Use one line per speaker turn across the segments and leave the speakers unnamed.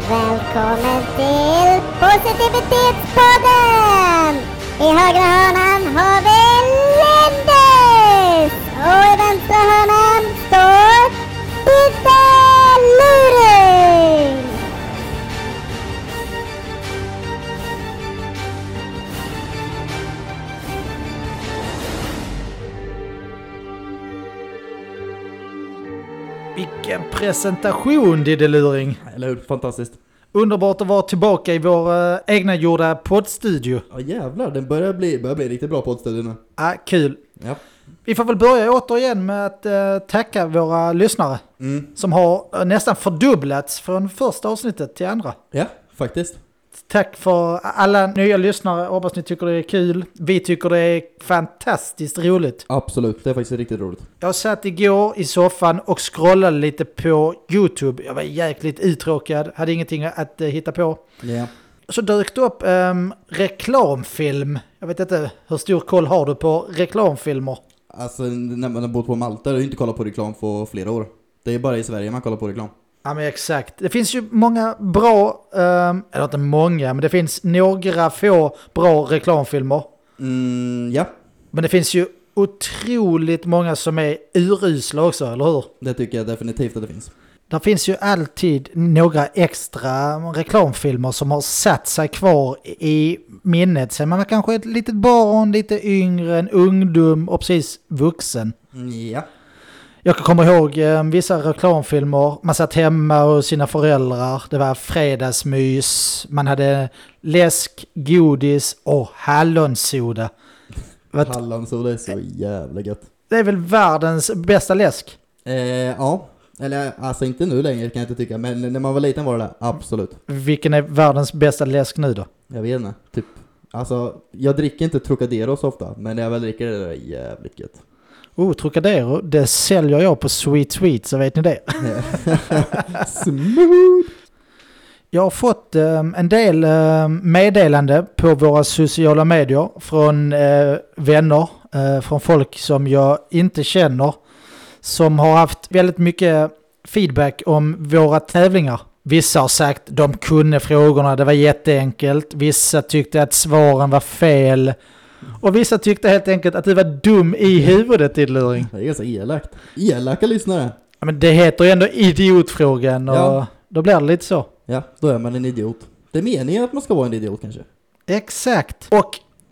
välkommen till Positivitetspodden! I högra hörnan har vi Lendis! Och i vänstra hörnan står Pizza Luring!
Vilken presentation Diddeluring!
Eller hur? Fantastiskt.
Underbart att vara tillbaka i vår eh, egna gjorda poddstudio.
Ja jävlar, den börjar bli, börjar bli riktigt bra poddstudio nu.
Ah, kul!
Ja.
Vi får väl börja återigen med att eh, tacka våra lyssnare
Mm.
som har eh, nästan fördubblats från första avsnittet till andra.
Ja, faktiskt.
Tack för alla nya lyssnare, hoppas ni tycker det är kul. Vi tycker det är fantastiskt roligt.
Absolut, det är faktiskt riktigt roligt.
Jag satt igår i soffan och scrollade lite på YouTube. Jag var jäkligt uttråkad, hade ingenting att eh, hitta på.
Ja.
Så dök det upp ehm, reklamfilm. Jag vet inte, hur stor koll har du på reklamfilmer?
Alltså när man har bott på Malta har jag inte kollat på reklam på flera år. Det är bara i Sverige man kollar på reklam.
Ja men exakt. Det finns ju många bra, ehm, eller inte många, men det finns några få bra reklamfilmer.
Mm, ja,
Men det finns ju otroligt många som är urusla också, eller hur?
det tycker jag definitivt att det finns.
Det finns ju alltid några extra reklamfilmer som har satt sig kvar i minnet sen man var kanske ett litet barn, lite yngre, en ungdom och precis vuxen.
Mm, ja.
Jag kan komma ihåg eh, vissa reklamfilmer. Man satt hemma hos sina föräldrar. Det var fredagsmys. Man hade läsk, godis och hallonsoda. Vet-
Hallonsoda är så jävla gött.
Det är väl världens bästa läsk?
Eh, ja, eller alltså inte nu längre kan jag inte tycka, men när man var liten var det det. Absolut.
Vilken är världens bästa läsk nu då?
Jag vet inte, typ. Alltså, jag dricker inte Trocadero så ofta, men när jag väl dricker det, det är jävligt gött.
Oh, Trocadero, det säljer jag på Sweet Sweet, så vet ni det.
Smooth!
Jag har fått eh, en del eh, meddelande på våra sociala medier från eh, vänner, eh, från folk som jag inte känner, som har haft väldigt mycket feedback om våra tävlingar. Vissa har sagt de kunde frågorna, det var jätteenkelt. Vissa tyckte att svaren var fel. Och vissa tyckte helt enkelt att du var dum i huvudet, din luring.
Det är ganska elakt. Elaka lyssnare.
Ja, Men det heter ju ändå idiotfrågan och
Ja.
då blir det lite så.
Ja, då är man en idiot. Det är meningen att man ska vara en idiot kanske.
Exakt. Och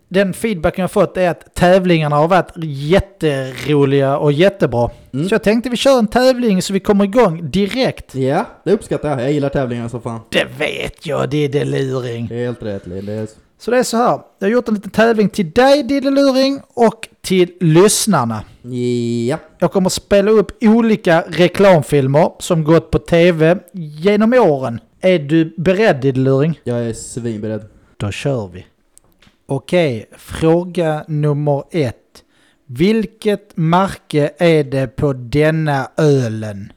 den feedbacken jag fått är att tävlingarna har varit jätteroliga och jättebra.
Mm.
Så jag tänkte vi kör en tävling så vi kommer igång direkt.
Ja, det uppskattar jag. Jag gillar tävlingar som fan.
Det vet jag, det är det luring.
Helt rätt Linus.
Så det är så här, jag har gjort en liten tävling till dig Diddeluring och till lyssnarna.
Ja.
Jag kommer spela upp olika reklamfilmer som gått på tv genom åren. Är du beredd Diddeluring?
Jag är svinberedd.
Då kör vi. Okej, fråga nummer ett. Vilket märke är det på denna ölen?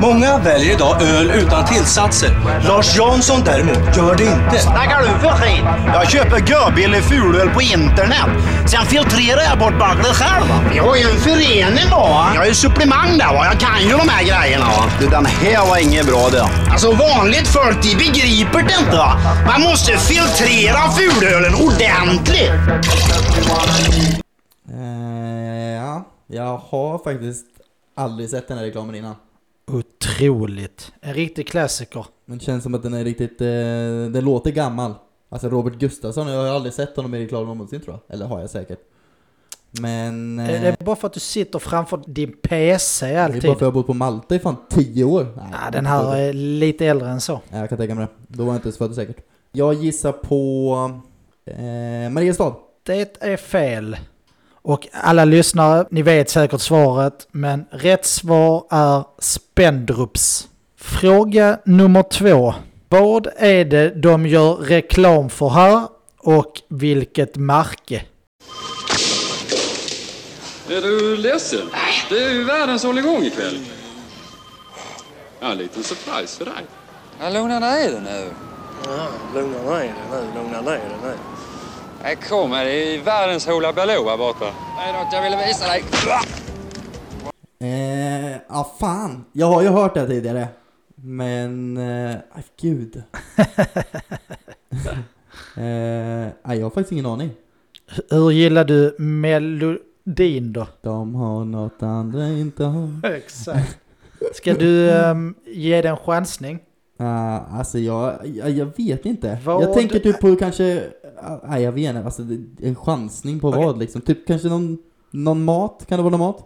Många väljer idag öl utan tillsatser. Lars Jansson däremot gör det inte.
Snackar du för skit? Jag köper görbillig fulöl på internet. Sen filtrerar jag bort baklet själv. va. Vi har ju en förening va. Jag är ju supplement där va. Jag kan ju de här grejerna va. Du, den här var inget bra det. Alltså vanligt folk de begriper det inte va. Man måste filtrera fulölen ordentligt.
Eh, ja, jag har faktiskt aldrig sett den här reklamen innan.
Otroligt. En riktig klassiker.
Men det känns som att den är riktigt, eh, den låter gammal. Alltså Robert Gustafsson, jag har aldrig sett honom i reklam någonsin tror jag. Eller har jag säkert. Men... Eh,
Det det är bara för att du sitter framför din PC
det är bara
alltid.
för att jag har bott på Malta i fan 10 år. Nej,
Ja, den här är lite äldre än så.
Ja, jag kan tänka mig det. Då var jag inte ens född säkert. Jag gissar på eh, Mariestad.
Det är fel. Och alla lyssnare, ni vet säkert svaret, men rätt svar är Spendrups. Fråga nummer två. Vad är det de gör reklam för här och vilket märke?
Är du ledsen? Det är ju världens hålligång ikväll. Ja, en liten surprise för dig.
Ja, lugna ner dig nu.
Ja, lugna ner dig nu, lugna ner dig nu.
Nej, kom här. Det är världens hoola baloo här borta. Det är något jag ville visa dig.
Eh, ah fan. Jag har ju hört det här tidigare. Men, eh, aj, gud. eh, nej, jag har faktiskt ingen aning.
Hur gillar du melodin då?
De har något andra inte har.
Exakt. Ska du ehm, ge den en chansning?
Uh, alltså jag, jag, jag vet inte.
Vad-
Jag tänker typ på kanske, ah, nej jag vet inte, alltså det- en chansning på vad liksom. Typ kanske någon, någon mat, kan det vara någon mat?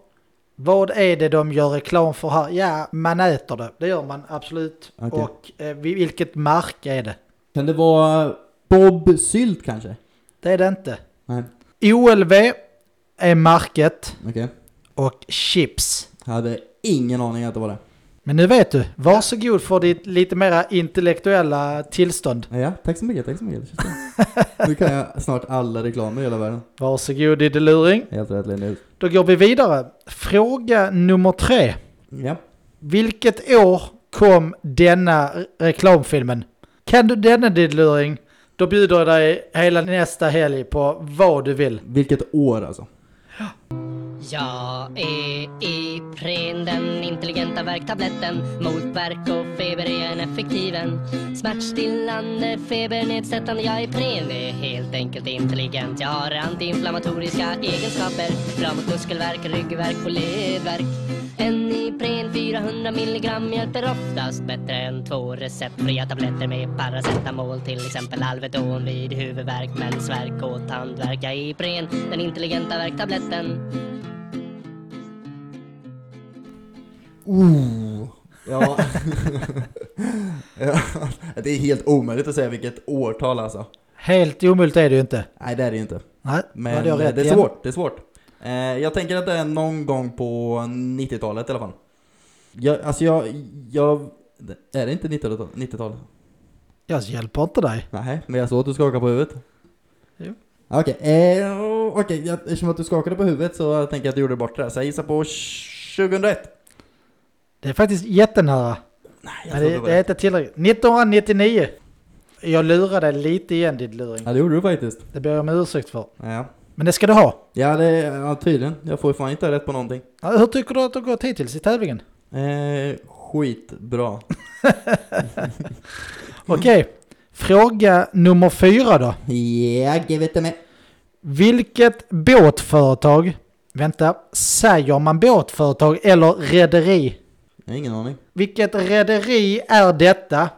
Vad är det de gör reklam för här? Ja, man äter det. Det gör man absolut.
Okej.
Och eh, vil- vilket märke är det?
Kan det vara Bob Sylt kanske?
Det är det inte.
Nej,
OLV är märket
okej.
och chips.
Jag hade ingen aning att det var det.
Men nu vet du. Varsågod för ditt lite mera intellektuella tillstånd.
Ja, tack så mycket, tack så mycket. Det känns bra. nu kan jag snart alla reklamer i hela världen.
Varsågod Didde Luring.
Helt rätt Linus.
Då går vi vidare. Fråga nummer tre.
Ja.
Vilket år kom denna re- reklamfilmen? Kan du denna Didde Luring? Då bjuder jag dig hela nästa helg på vad du vill.
Vilket år alltså?
Jag är Ipren, den intelligenta värktabletten Mot värk och feber är en effektiven Smärtstillande, febernedsättande Jag är Ipren är helt enkelt intelligent Jag har antiinflammatoriska egenskaper Bra mot muskelvärk, ryggvärk och ledvärk En Ipren 400 milligram hjälper oftast bättre än två receptfria tabletter med paracetamol till exempel Alvedon vid huvudvärk, mensvärk och tandvärk Jag är Ipren, den intelligenta värktabletten
Ja. ja. Det är helt omöjligt att säga vilket årtal alltså.
Helt omöjligt är det ju inte.
Nej, det är det ju inte.
Nej,
Men
hade
det
jag
är,
rätt igen?
svårt, det är svårt. Eh, jag tänker att det är någon gång på 90-talet i alla fall. Jag, alltså jag, jag... Är det inte 90-talet? 90-talet?
Jag hjälper inte dig.
Nej, men jag såg att du skakade på huvudet.
Jo.
Okej, eh, okej, jag- eftersom att du skakade på huvudet så tänker jag att du gjorde bort det här. Så jag gissar på 2001.
Det är faktiskt jättenära.
Nej,
Men det, det är inte tillräckligt. 1999. Jag lurade lite igen ditt luring.
Ja, det gjorde du faktiskt.
Det ber jag om ursäkt för.
Ja,
Men det ska du ha.
ja, det, ja tydligen. Jag får ju fan inte rätt på någonting.
Ja, Hur tycker du att det har gått hittills i tävlingen?
Eh, skitbra.
Okej, fråga nummer fyra då.
Ja, ge vete mig.
Vilket båtföretag, vänta, säger man båtföretag eller rederi?
Jag har ingen aning.
Vilket rederi är detta?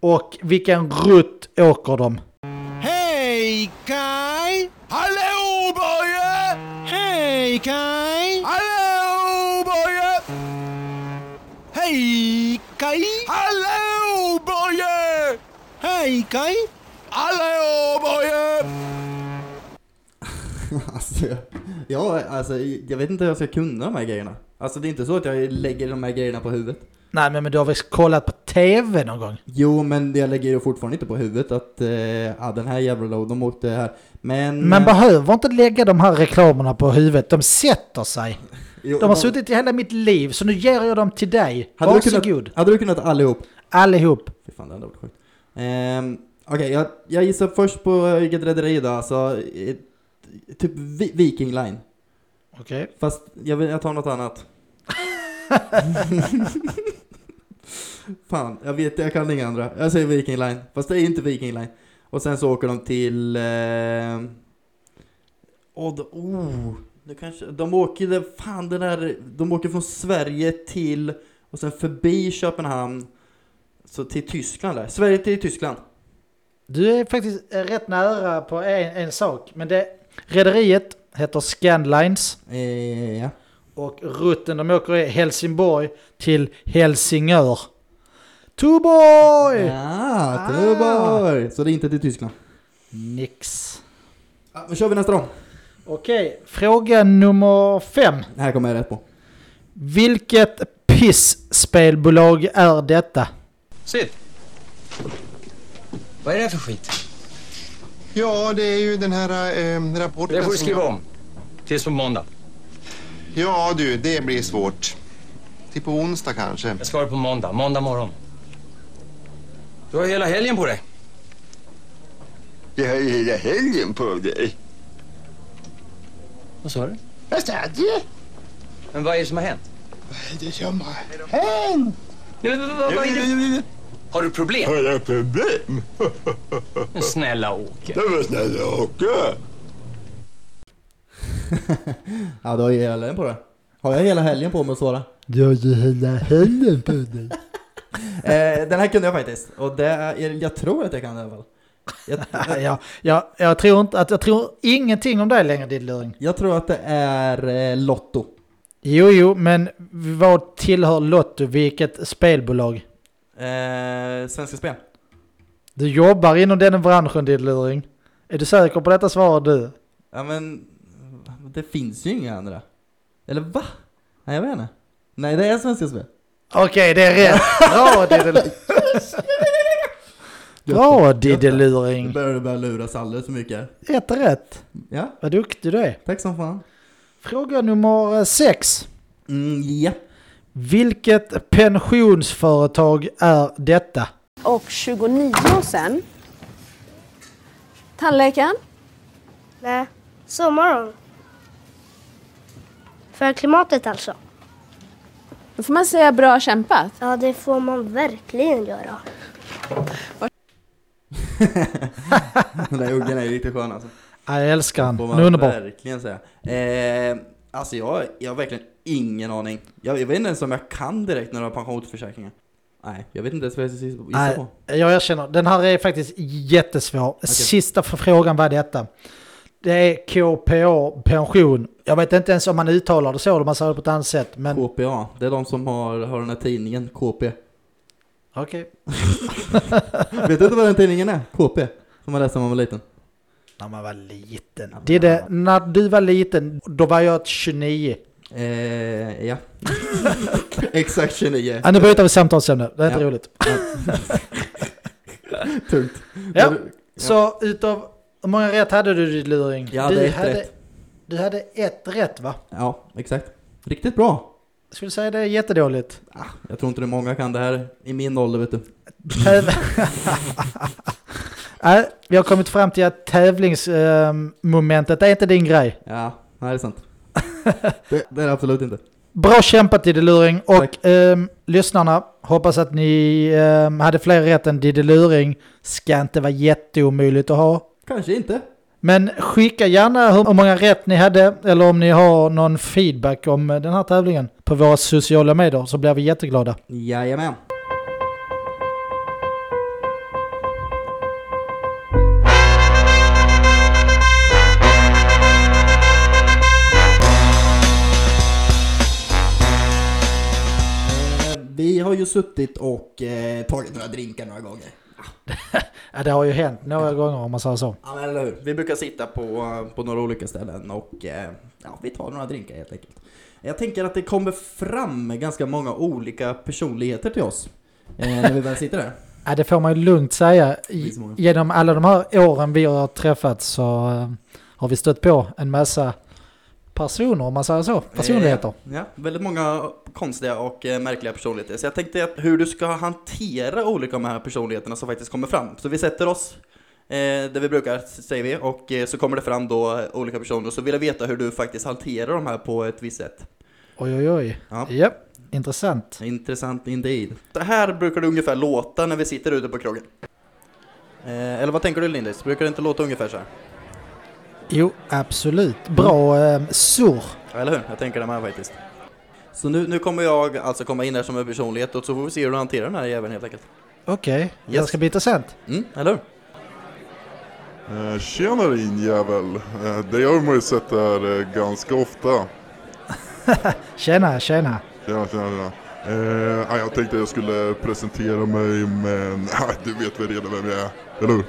Och vilken rutt åker de?
Hej Kai! Hallå Börje! Hej Kai! Hallå Börje! Hej Kai! Hallå Börje! Hej Kai! Hallå Börje!
Alltså, jag- ja, alltså, jag vet inte hur jag ska kunna de här grejerna. Alltså det är inte så att jag lägger de här grejerna på huvudet.
Nej men, men du har väl kollat på TV någon gång?
Jo, men jag lägger ju fortfarande inte på huvudet att eh, ja, den här jävla lo- de åkte här. Men...
Man behöver inte lägga de här reklamerna på huvudet, de sätter sig.
jo,
De har suttit i hela mitt liv, så nu ger jag dem till dig.
hade du
Varsågod,
kunnat, hade du kunnat allihop?
allihop.
Fy fan, det hade varit sjukt. Ehm, Okej, jag, jag gissar först på vilket rederi då, alltså. eh, Typ Vi- Viking Line.
Okej.
Fast jag, vill, jag tar något annat. Fan, jag vet jag kan inga andra. Jag säger Viking Line, fast det är inte Viking Line. Och sen så åker de till... Eh, Odd, oh, nu kanske, de åker, där- fan det där, de åker från Sverige till, och sen förbi Köpenhamn, så till Tyskland där. Sverige till Tyskland.
Du är faktiskt eh, rätt nära på en, en sak, men det rederiet heter Scandlines
Eh, ja.
och rutten de åker är Helsingborg till Helsingör. Tuborg!
Ah, Tuborg! Så det är inte till Tyskland.
Nix.
Ah, Då kör vi nästa då.
Okej, fråga nummer fem.
Det här kommer jag rätt på.
Vilket pisspelbolag är detta?
Sitt! Vad är det här för skit?
Ja, det är ju den här eh, rapporten.
Det får du
som
skriva
jag-
om. Tills på måndag.
Ja, du, det blir svårt. Till på onsdag kanske.
Jag ska ha det på måndag. Måndag morgon. Du har hela helgen på dig.
Jag har ju hela helgen på dig.
Vad sa du?
Vad sa du?
Men vad är det som har hänt?
Det som har
Har du problem?
Har jag problem?
Men snälla Åke.
Det var snälla Åke.
Ja, du har ju hela helgen på det. Har jag hela helgen på mig att svara?
Du har ju hela handen på dig.
Eh, den här kunde jag faktiskt. Och det är, jag tror att jag kan den i alla fall. Jag,
jag, jag, jag, tror inte, att, jag tror ingenting om dig längre, din luring.
Jag tror att det är eh, Lotto.
Jo, jo, men vad tillhör Lotto? Vilket spelbolag?
Eh, Svenska Spel.
Du jobbar inom den branschen, din luring. Är du säker på detta svar du?
Ja men, det finns ju inga andra. Eller va? Nej jag vet inte. Nej det är Svenska Spel.
Okej, det är rätt. Bra, Diddeluring. Bra,
Nu
Diddeluring.
börjar du börja luras alldeles för mycket.
Ett rätt.
Ja.
Vad duktig du är.
Tack som fan.
Fråga nummer eh, sex.
Mm, ja.
Vilket pensionsföretag är detta?
Och 29 sen. Tandläkaren?
Nej, sommaren. För klimatet alltså.
Då får man säga bra kämpat.
Ja, det får man verkligen göra.
Den där uggen är ju riktigt skön alltså.
Ja, Jag älskar han.
Får
Han
man
är underbar.
verkligen säga. Eh, alltså jag, jag har verkligen ingen aning. Jag, jag vet inte ens om jag kan direkt när det har pensionsförsäkringar. Nej, jag vet inte ens vad jag ska gissa
Nej,
på.
jag erkänner. Den här är faktiskt jättesvår. Sista frågan var detta. Det är KPA pension. Jag vet inte ens om man uttalar det så eller om man säger det på ett annat sätt. Men
KPA, det är de som har, har den här tidningen KP.
okej.
Vet du inte vad den tidningen är? KP. Som man läste när man var liten.
När man var liten. Det är det, när du var liten, då var jag 29.
Eh, ja. Exakt 29.
Ja, nu byter vi samtalsämne. Det är inte
Ja.
roligt.
Tungt.
Ja. Så utav, hur många rätt hade du din luring?
Jag hade
du
ett rätt.
Du hade ett rätt va?
Ja, exakt. Riktigt bra.
Jag skulle säga det är jättedåligt.
Jag tror inte det är många kan det här i min ålder vet du.
Nej, vi har kommit fram till att tävlingsmomentet är inte din grej.
Ja, nej det är sant. Det, det är det absolut inte.
Bra kämpat Didde Luring och ehm, lyssnarna, hoppas att ni ehm, hade fler rätt än Didde Luring. Ska inte vara jätteomöjligt att ha.
Kanske inte.
Men skicka gärna hur många rätt ni hade eller om ni har någon feedback om eh, den här tävlingen på våra sociala medier så blir vi jätteglada.
Jajamän. Eh, Eh, Vi har ju suttit och eh, tagit några drinkar några gånger.
Ja, det har ju hänt några gånger om man säger så.
Ja, men eller hur? Vi brukar sitta på, på några olika ställen och eh, ja, vi tar några drinkar helt enkelt. Jag tänker att det kommer fram ganska många olika personligheter till oss eh, när vi väl sitter där.
Ja, det får man ju lugnt säga. I-
så många.
Genom alla de här åren vi har träffats så eh, har vi stött på en massa personer om man säger så. Personligheter.
Eh, Ja, väldigt många konstiga och eh, märkliga personligheter. Så jag tänkte att hur du ska hantera olika av de här personligheterna som faktiskt kommer fram. Så vi sätter oss eh, där vi brukar, säger vi, och eh, så kommer det fram då eh, olika personer. Så vill jag veta hur du faktiskt hanterar de här på ett visst sätt.
Oj, oj, oj.
Ja.
Japp, intressant.
Intressant indeed. Det här brukar det ungefär låta när vi sitter ute på krogen. Eh, eller vad tänker du Lindis? Brukar det inte låta ungefär så här?
Jo, absolut. Bra eh, surr.
Ja, eller hur? Jag tänker det med faktiskt. Så nu, nu kommer jag alltså komma in här som en personlighet och så får vi se hur du hanterar den här jäveln helt enkelt.
Okej, det ska bli intressant.
Mm, eller hur?
Eh, Tjena din jävel. Eh, Dig har man ju sett där eh, ganska ofta.
Tjena, tjena.
Tjena, tjena, tjena. Eh, ah, jag tänkte jag skulle presentera mig men ah, du vet väl redan vem jag är, eller hur?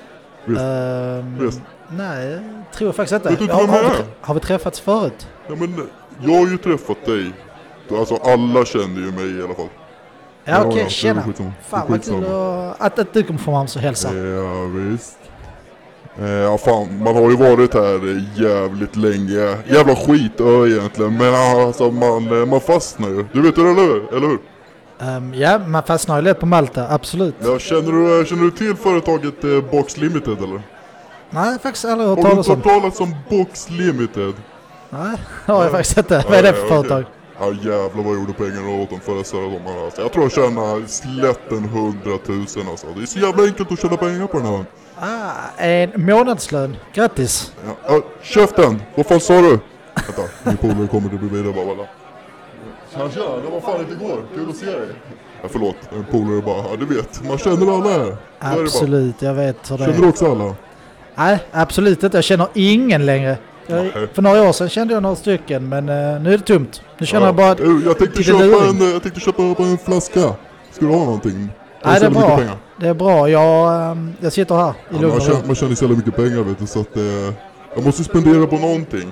Visst?
Ehm,
Visst?
nej, tror jag faktiskt
Vet du
inte.
inte
Har,
vem jag
har, vi,
är?
trä- har vi träffats förut?
Ja, men eh, jag har ju träffat dig. Alltså alla känner ju mig i alla fall.
Ja, okej,
det är
tjena.
skitsamma. Det är
Fan vad kul
skitsamma.
att, att, att du kom fram och hälsade.
Ja visst. Eh, Ja fan, man har ju varit här eh, jävligt länge. Jävla skitö egentligen. Men alltså man, eh, man fastnar ju. Du vet det eller hur? Eller hur?
Ehm, ja, man fastnar ju lätt på Malta, absolut.
Ja, känner, du, eh, känner du till företaget eh, Box Limited eller?
Nej, faktiskt aldrig hört
Har du
talas
inte
om.
hört talas om Box Limited?
Nej, har jag faktiskt inte. Vad är det för
Ja, ja, okej.
företag?
Ja jävlar vad jag gjorde pengar åt dem förra sommaren alltså. Jag tror jag tjänar slätt en hundratusen alltså. Det är så jävla enkelt att tjäna pengar på den här.
Ah, en månadslön. Grattis!
Ja, äh, käften! Vad fan sa du? Vänta, min polare kommer till bredvid och bara "Walla."
Tja tja, det var fan inte igår. Kul att se dig.
ja, förlåt, en polare bara ja, du vet, man känner alla här. Så är det bara.
Absolut, jag vet hur det
Känner du
är.
också alla?
Nej, absolut inte. Jag känner ingen längre. Jag, för några år sedan kände jag några stycken, men eh, nu är det tomt. Nu känner jag bara...
Du, jag tänkte
lite
köpa
luring.
en, eh, jag tänkte köpa bara en flaska. Ska du ha någonting? Jag
Nej,
har
det
så
är
mycket
bra.
pengar.
Det är bra. Jag, ehm, jag sitter här i
Ja,
lugn
man,
och
tjänar,
ro.
man tjänar så jävla mycket pengar vet du så att eh, jag måste spendera på någonting.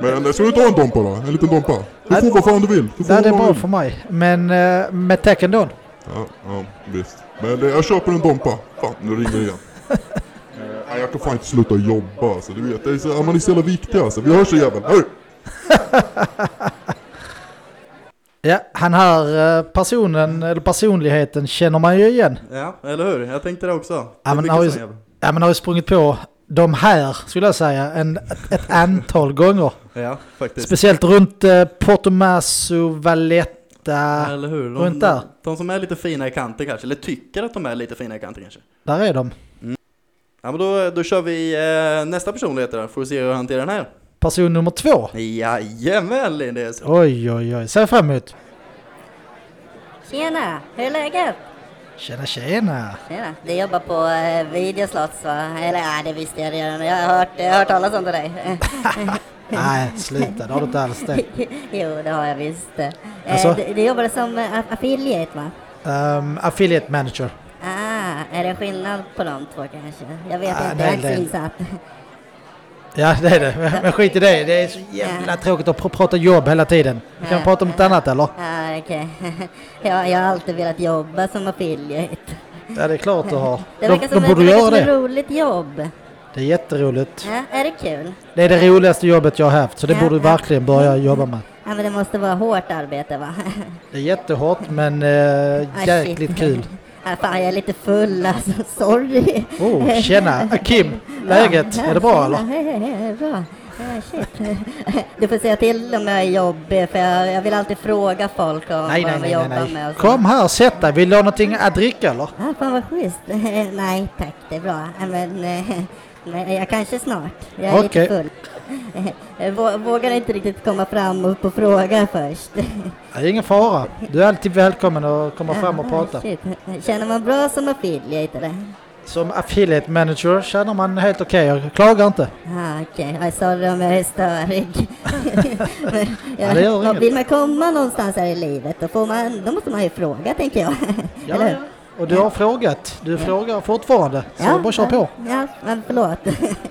Men eh, ska du ta en Dompa då? En liten Dompa? Du får vad fan du vill. Du får
Nej, det är
vad
bra
du vill.
för mig. Men eh, med tack ändå.
Ja, ja, visst. Men eh, jag köper en Dompa. Fan, nu ringer det igen. Eh, nej, jag kan fan inte sluta jobba alltså, du vet. Det är så, ja, man är så jävla viktig alltså. Vi hörs så jävel. Hörru!
Ja, han här eh, personen, eller personligheten, känner man ju igen.
Ja, eller hur? Jag tänkte det också.
Ja, men
Mycket
har ju,
sån jävel.
ja, men har ju sprungit på de här, skulle jag säga, en, ett, ett antal gånger.
Ja, faktiskt.
Speciellt runt eh, Portomasso, Valletta,
Eller hur?
runt där.
de som är lite fina i kanter kanske, eller tycker att de är lite fina i kanter kanske.
Där är de.
Ja men då, då kör vi eh, nästa personlighet då, får vi se hur jag hanterar den här.
Person nummer två.
Jajamän Lindis!
Oj, oj, oj. Ser fram emot.
Tjena, hur är läget?
Tjena, tjena.
Tjena. Du jobbar på eh, Videoslots va? Eller nej, det visste jag redan. Jag har hört, jag har hört talas om det dig.
Nej, sluta. Det har du inte alls det.
jo, det har jag visst. Eh,
Alltså?
du, du jobbade som eh, aff- affiliate va?
Ehm, affiliate manager.
Ah, är det skillnad på de två kanske? Jag vet
Ah,
inte,
det är
jag är inte
det.
så insatt.
Ja, det är det. Men- Men skit i det. Det är så jävla tråkigt att pr- prata jobb hela tiden. Vi kan prata om något annat eller?
Ah, okej. jag, jag har alltid velat jobba som affiliate.
Ja, det är klart du har.
Det
De,
verkar som,
de
ett-
borde
det verkar
göra
som ett
det.
roligt jobb.
Det är jätteroligt.
Ja, är det kul?
Det är det roligaste jobbet jag har haft, så det
Ja,
borde du
ja.
verkligen börja jobba med.
Ja, men det måste vara hårt arbete va?
Det är jättehårt, men eh,
Ah,
jäkligt
shit.
kul.
Ah, fan, jag är lite full alltså, sorry.
Oh, tjena! Kim, läget? Är det bra eller?
Det är bra. Ah, shit. Du får säga till om jag är jobbig, för jag, jag vill alltid fråga folk om
Nej,
vad
nej,
de
nej,
jobbar
nej,
med
nej.
och så.
Kom här och sätt dig. Vill du ha någonting att dricka eller?
Ah, fan vad schysst. Nej tack, det är bra. Ah, Men, eh, men jag kanske snart. Jag är
Okej.
lite full. Jag vå- Vågar inte riktigt komma fram och upp och fråga först.
Det är ingen fara. Du är alltid välkommen att komma fram och
Ah,
prata.
shit. Känner man bra som affiliate eller?
Som affiliate manager känner man helt okej. Jag klagar inte.
Ah, Okej, okay. sorry om jag är störig. Men,
Ja, det gör
ja,
inget.
vill man komma någonstans här i livet då, får man, då måste man ju fråga tänker jag.
Ja, ja. Och du har frågat. Du frågar fortfarande. Så bara kör på.
Ja, men förlåt.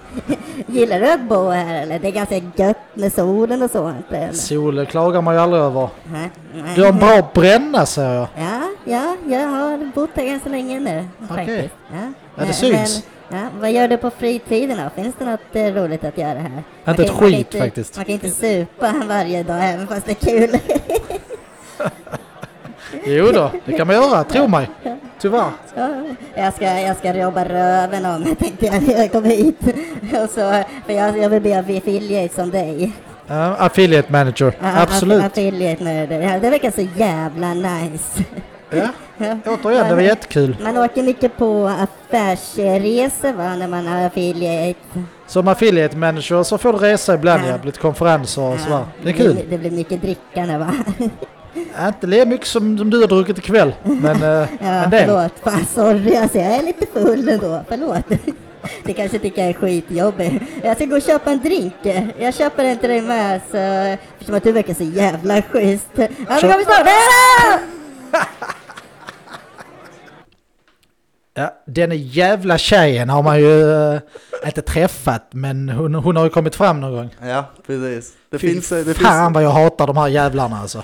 Gillar du att bo här eller? Det är ganska gött med solen och sånt. eller?
Sol klagar man ju aldrig över.
Nej, nej.
Du har en bra bränna säger jag.
Ja, ja, jag har bott här ganska länge nu. faktiskt. Ja.
Ja, det
Eh,
syns.
Men, ja, vad gör du på fritiden då? Finns det något eh, roligt att göra här? Man kan-
ett
man kan
skit, faktiskt.
Man kan inte supa varje dag även fast det är kul.
Jo då, det kan man göra. Tro mig. Tyvärr.
Ja, jag, ska, jag ska jobba röven av mig tänkte jag när jag kom hit. Och så, för jag, jag vill bli affiliate som dig.
Ja, Eh, affiliate manager.
Ja,
Absolut.
Affiliate med det. Ja, Det verkar så jävla nice.
Ja, återigen, det var jättekul.
Man åker mycket på affärsresor va, när man är affiliate.
Som affiliate manager så får du resa ibland ja, lite konferenser och sådär. Det är kul.
blir, det blir mycket drickande va?
Ja, inte lika mycket som, som du har druckit ikväll, men eh,
Ja,
en del.
förlåt. Fan, sorry alltså, jag är lite full ändå. Förlåt. Det kanske tycker jag är skitjobbig. Jag ska gå och köpa en drink. Jag köper en till dig med, så... Eftersom att du verkar så jävla schysst. Ja, men
Kör.
kom vi snart. Ah!
Ja, den jävla tjejen har man ju eh, inte träffat, men hon, hon har ju kommit fram någon gång.
Ja, precis. Det
Fy
finns... Det
Fan
finns
vad jag hatar de här jävlarna alltså.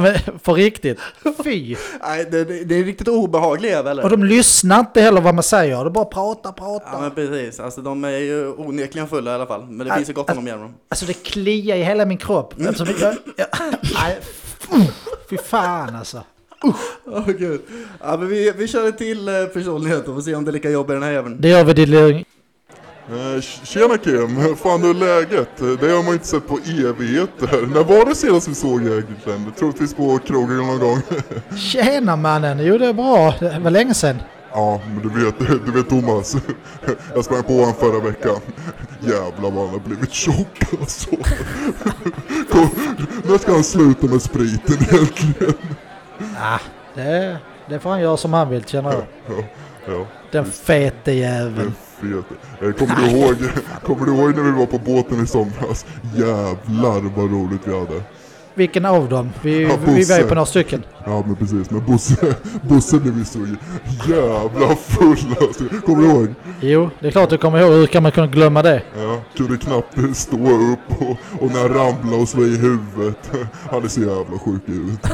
Men För riktigt. Fy!
nej, det, det det är riktigt obehagliga väl?
Och de lyssnar inte heller vad man säger, de bara pratar, pratar.
Ja men precis, alltså de är ju onekligen fulla i alla fall. Men det
Ja,
finns ju gott om dem genom dem.
Alltså det kliar i hela min kropp.
Mm.
Alltså, det- jag, jag, nej, uff, fy fan alltså.
Åh gud. Ja men vi, vi kör en till eh, personlighet och får se om det är lika jobbigt den här jäveln.
Det gör vi till
Eh, Tjena Kim, hur fan hur är läget? Eh, Det har man inte sett på evigheter. När var det senast vi såg egentligen? Troligtvis på krogen någon gång.
Tjena mannen, jo det är bra. Det var länge sedan.
Ja, men du vet, du vet Thomas. Jag sprang på honom förra veckan. Jävlar vad han har blivit tjock alltså. Kom, när ska han sluta med spriten egentligen?
Ah, det, det får han göra som han vill känner jag.
Ja.
Den fete jäveln.
fet. Eh, Kommer du, ihåg, kommer du ihåg när vi var på båten i somras? Jävlar vad roligt vi hade.
Vilken av dem? Vi,
Ja,
vi var ju
Bosse.
på några stycken.
Ja men precis, men Bosse, Bosse blev ju så jävla full alltså. Kommer du ihåg?
Jo, det är klart du kommer ihåg. Hur kan man kunna glömma det?
Ja, kunde knappt stå upp och, och när han ramlade och slog i huvudet. Han är så jävla sjuk i huvudet.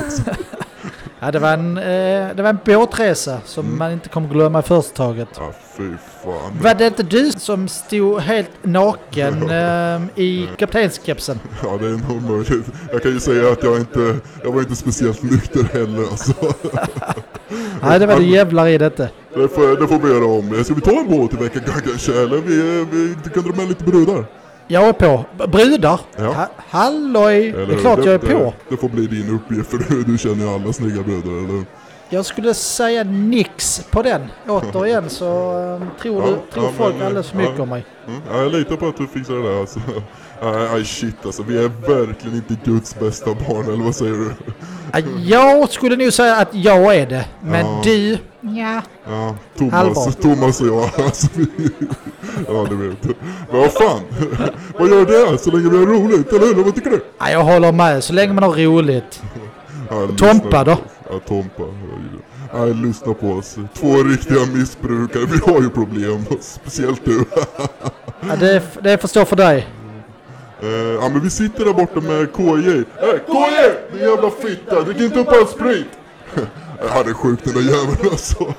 Ja, det, var en, eh, det var en båtresa som
Mm.
man inte kommer glömma i första taget.
Ja, fy fan.
Var det inte du som stod helt naken ehm, i kaptenskepsen?
Ja, det är nog möjligt. Jag kan ju säga att jag inte, jag var inte speciellt nykter heller alltså.
Nej, det var du jävlar i detta.
Det får, det får vi göra om. Ska vi ta en båt i veckan kanske? Eller vi, vi kan dra med lite brudar.
Jag är på. B- Brudar?
Ja.
Ha- Halloj! det är klart jag är på.
Det, det får bli din uppgift för du, du känner ju alla snygga brudar, eller hur?
Jag skulle säga nix på den. Återigen så ehm, tror, du, tror folk
men,
alldeles för mycket
ja.
om mig.
Mm. Ja, jag litar på att du fixar det där alltså. Nej, nej, shit alltså. Vi är verkligen inte Guds bästa barn, eller vad säger du?
Ja, Jag skulle nog säga att jag är det. Men
Ja.
du... Ja.
Ja, Thomas,
Halvbart.
Thomas och jag alltså. Vi, ja, du vet. Men vad fan. Vad gör det så länge vi har roligt, eller hur? Vad tycker du?
ja. Jag håller med. Så länge man har roligt.
Ja, jag
Tompa
lyssnar-
då?
Ja, Tompa. Ja, jag lyssnar på oss. Två riktiga missbrukare. Vi har ju problem. Speciellt du.
Ja, det, det förstår för dig.
Eh, ja men vi sitter där borta med KJ. Hey, KJ! Din jävla fitta, drick inte upp all sprit! Eh, Han är sjuk den där jäveln alltså.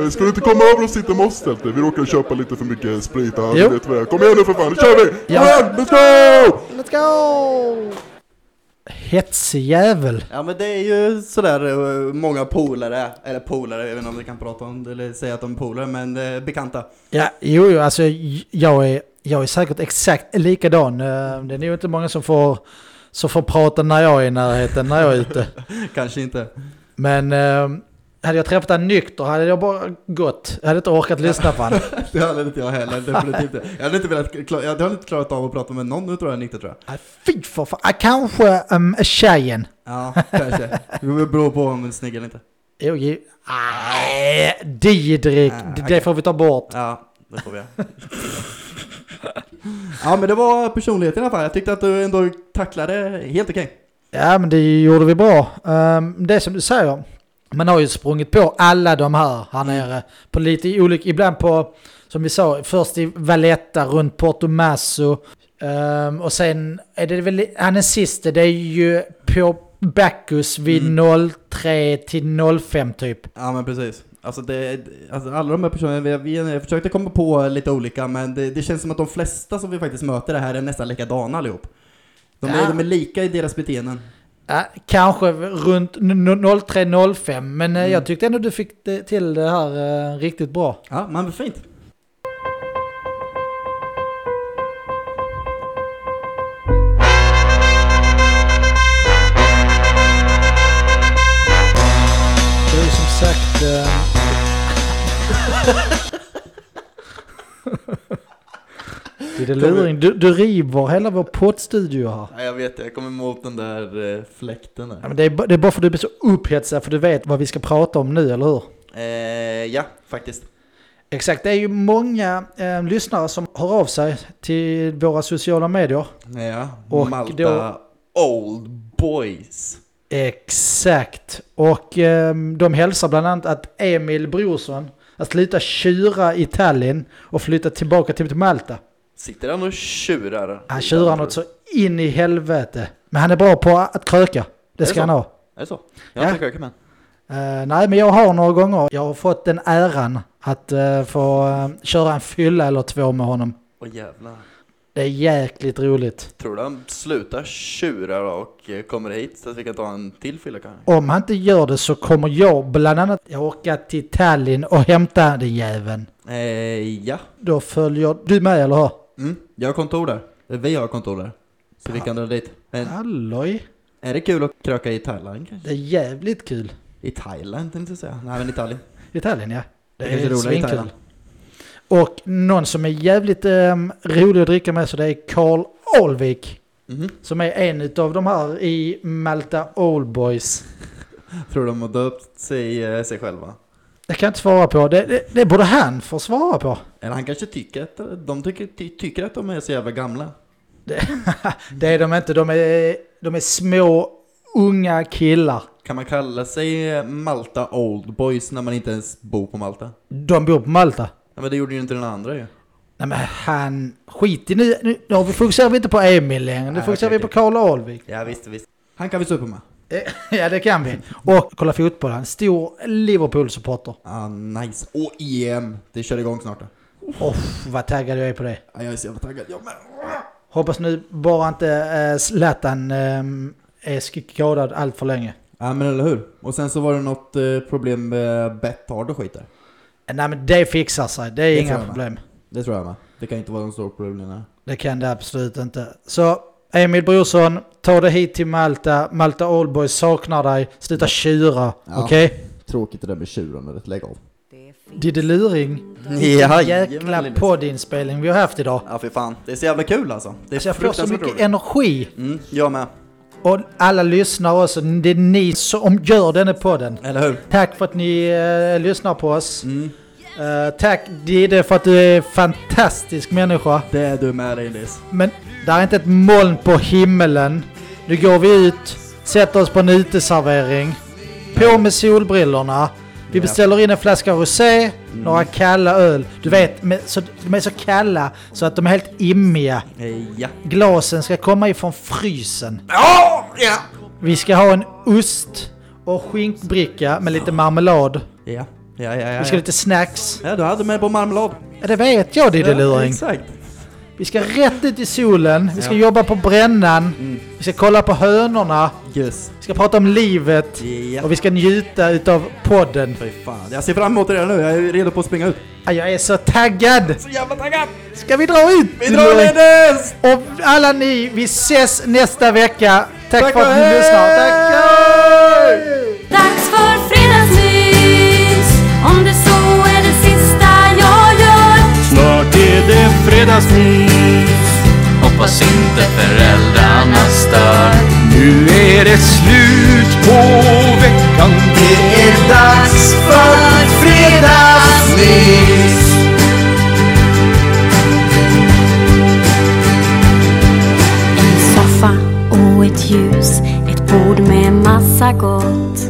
Eh, Ska du inte komma över och sitta med oss Telte? Vi råkade köpa lite för mycket sprit. Ja, du
Jo.
vet vad det är. Kom igen nu för fan, nu kör vi! Kom
Ja.
igen, let's go!
Let's go! Hetsig jävel.
Ja men det är ju sådär eh, många polare, eller polare, jag vet inte om vi kan prata om det eller säga att de är polare, men eh, bekanta.
Ja, jo, jo alltså j- jag är, jag är säkert exakt likadan. Eh, Det är nog inte många som får, som får prata när jag är i närheten, när jag är ute.
Kanske inte.
Men eh, hade jag träffat en nykter hade jag bara gått. Jag hade inte orkat lyssna på honom.
Det hade inte jag heller, definitivt inte. Jag hade inte, velat, kla- jag hade inte klarat av att prata med någon nu tror jag, nykter tror jag.
Fy för fan. Ah, Kanske um, tjejen.
Ja, kanske. Det beror på om den är snygg eller inte.
Jo, jo. Nej, Didrik. det, det får vi ta bort.
Ja, det får vi Ja men det var personligheten i alla fall. Jag tyckte att du ändå tacklade helt okej.
Ja, men det gjorde vi bra. Ehm, Det är som du säger, man har ju sprungit på alla de här här nere. På lite olika, ibland på, som vi sa, först i Valletta runt Porto Masso. Ehm, och sen är det väl, han är siste, det är ju på Bacchus vid 03 till 05 typ.
Ja men precis. Alltså, det, alltså alla de här personerna, vi, vi jag försökte komma på lite olika men det, det känns som att de flesta som vi faktiskt möter det här är nästan likadana allihop. De är,
Ja.
de är lika i deras beteenden.
Ja, kanske runt 03-05, men eh, jag tyckte ändå du fick det, till det här eh, riktigt bra.
Ja, men fint.
Det är ju som sagt... eh, Det är det luring. Du, du river hela vår poddstudio här.
Ja, jag vet det, jag kommer emot den där eh, fläkten där.
Ja, men det, är, ba- det är bara för att du blir så upphetsad för du vet vad vi ska prata om nu, eller hur?
Eh, ja, faktiskt.
Exakt, det är ju många eh, lyssnare som hör av sig till våra sociala medier.
Ja,
Och
Malta
då-
Old Boys.
Exakt. Och eh, de hälsar bland annat att Emil Brorsson att sluta tjura i Tallinn och flytta tillbaka till Malta.
Sitter han och tjurar?
Han tjurar något så in i helvete. Men han är bra på att kröka. Det ska
så?
han ha.
Är det så? Jag har
Ja.
inte krökat med.
Eh, nej, men jag har några gånger. Jag har fått den äran att eh, få eh, köra en fylla eller två med honom.
Åh jävlar.
Det är jäkligt roligt.
Tror du han slutar tjura då och eh, kommer hit så att vi kan ta en till fylla kanske?
Om han inte gör det så kommer jag bland annat åka till Tallinn och hämta den jäveln.
Eh, ja.
Då följer du med eller hur?
Mm. Jag har kontor där. Eh, Vi har kontor där. Så vi kan dra dit. Men
Halloj!
är det kul att kröka i Thailand kanske?
Det är jävligt kul.
I Thailand tänkte jag säga. Nej men Italien.
Italien ja. Det,
Det
är
kanske är roligare i
svinkul.
Thailand.
Och någon som är jävligt ehm, rolig att dricka med så det är Karl Alvik. Som är en av de här i Malta Oldboys.
Tror de har döpt sig, eh, sig själva?
Det kan jag inte svara på. Det, det, det borde han få svara på.
Eller han kanske tycker att eh, de tycker, ty, tycker att de är så jävla gamla.
Det är de inte. De är, de är små, unga killar.
Kan man kalla sig eh, Malta Old Boys när man inte ens bor på Malta?
De bor på Malta.
Ja, men det gjorde ju inte den andra ju.
Nej men han, skit i nu. Nu nu har vi- fokuserar vi inte på Emil längre. Nu
Nej,
fokuserar
okej,
vi på Karl Alvik.
Ja visst, visst. Han kan vi supa med.
Ja det kan vi. Och kolla fotboll. Han är stor Liverpool-supporter.
Ah, nice. Och EM, det kör igång snart då.
Åh, vad taggad jag är på det.
Ja, jag är så jävla taggad. Jag med.
Hoppas nu bara inte eh, Zlatan eh, är skadad allt för länge.
Ja men eller hur. Och sen så var det något eh, problem med Betthard och skit där.
Eh, Nej men det fixar sig. Det är
Det tror
inga
jag
problem.
Det tror jag med. Det kan inte vara de stora problemen här.
Det kan det absolut inte. Så Emil Brorsson, ta dig hit till Malta. Malta Oldboys saknar dig. Sluta tjura.
Ja.
Okej?
Tråkigt det där med tjurandet, lägg av.
Diddeluring.
Jajamän,
Jäkla
Linus.
poddinspelning vi har haft idag.
Ja fy fan, det är så jävla kul alltså. Det är
Alltså jag får så
fruktansvärt
mycket
roligt.
energi.
Mm, jag med.
Och alla lyssnar också. Det är ni som gör denna podden.
Eller hur?
Tack för att ni eh, lyssnar på oss.
Mm.
Eh, tack Didde för att du är en fantastisk människa.
Det är du med dig Liz.
Men där är inte ett moln på himmelen. Nu går vi ut, sätter oss på en uteservering. På med solbrillorna. Vi
Ja. Mm.
beställer in en flaska rosé, några kalla öl. Du vet, med, så, de är så kalla så att de är helt immiga.
Eh, Ja.
Glasen ska komma ifrån frysen.
Ja!
Vi ska ha en ost och skinkbricka med lite marmelad.
Ja, ja, ja. ja,
Vi ska ha
ja.
lite snacks.
ja du hade med på marmelad.
Ja, det vet jag
Ja,
Diddeluring.
exakt.
Vi ska rätt ut i solen, vi ska
Ja.
jobba på brännan,
Mm.
vi ska kolla på hönorna,
Yes.
vi ska prata om livet
Ja.
och vi ska njuta utav podden.
Fy fan. Jag ser fram emot det redan nu, jag är redo på att springa ut.
Ja, Jag är så taggad!
Så jävla taggad!
Ska vi dra ut?
Vi drar Linus!
Och alla ni, vi ses nästa vecka! Tack,
Tack
för att
och
ni
hej!
lyssnar! Tack!
Dags för fredagsmys Om det så är det sista jag gör
Snart är det fredagsmys Hoppas inte föräldrarna stör Nu är det slut på veckan Det är dags för fredagsmys
En soffa och ett ljus Ett bord med massa gott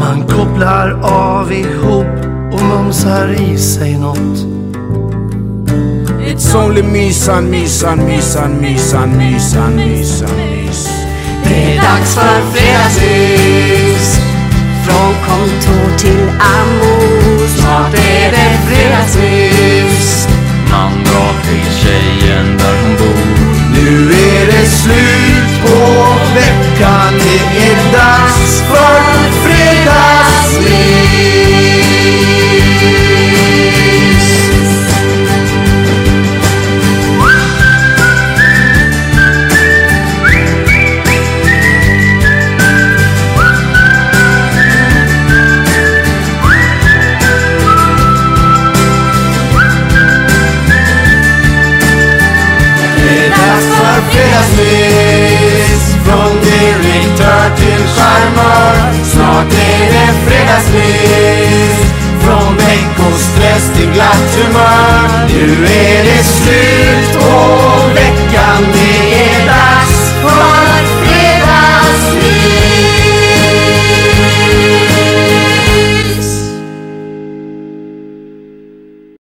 Man kopplar av ihop och mumsar i sig något. It's only mysan, mysan, mysan, mysan, mysan, mysan, mys.
Det är dags för fredagsmys Från kontor till amor Snart är det fredagsmys
Man drar till tjejen där hon bor Nu är det slut på veckan Det är dags för fredagsmys Det är dags för fredagsmys Från direktör till charmör Snart är det fredagsmys Från veckostress till glatt humör Nu är det slut på veckan Det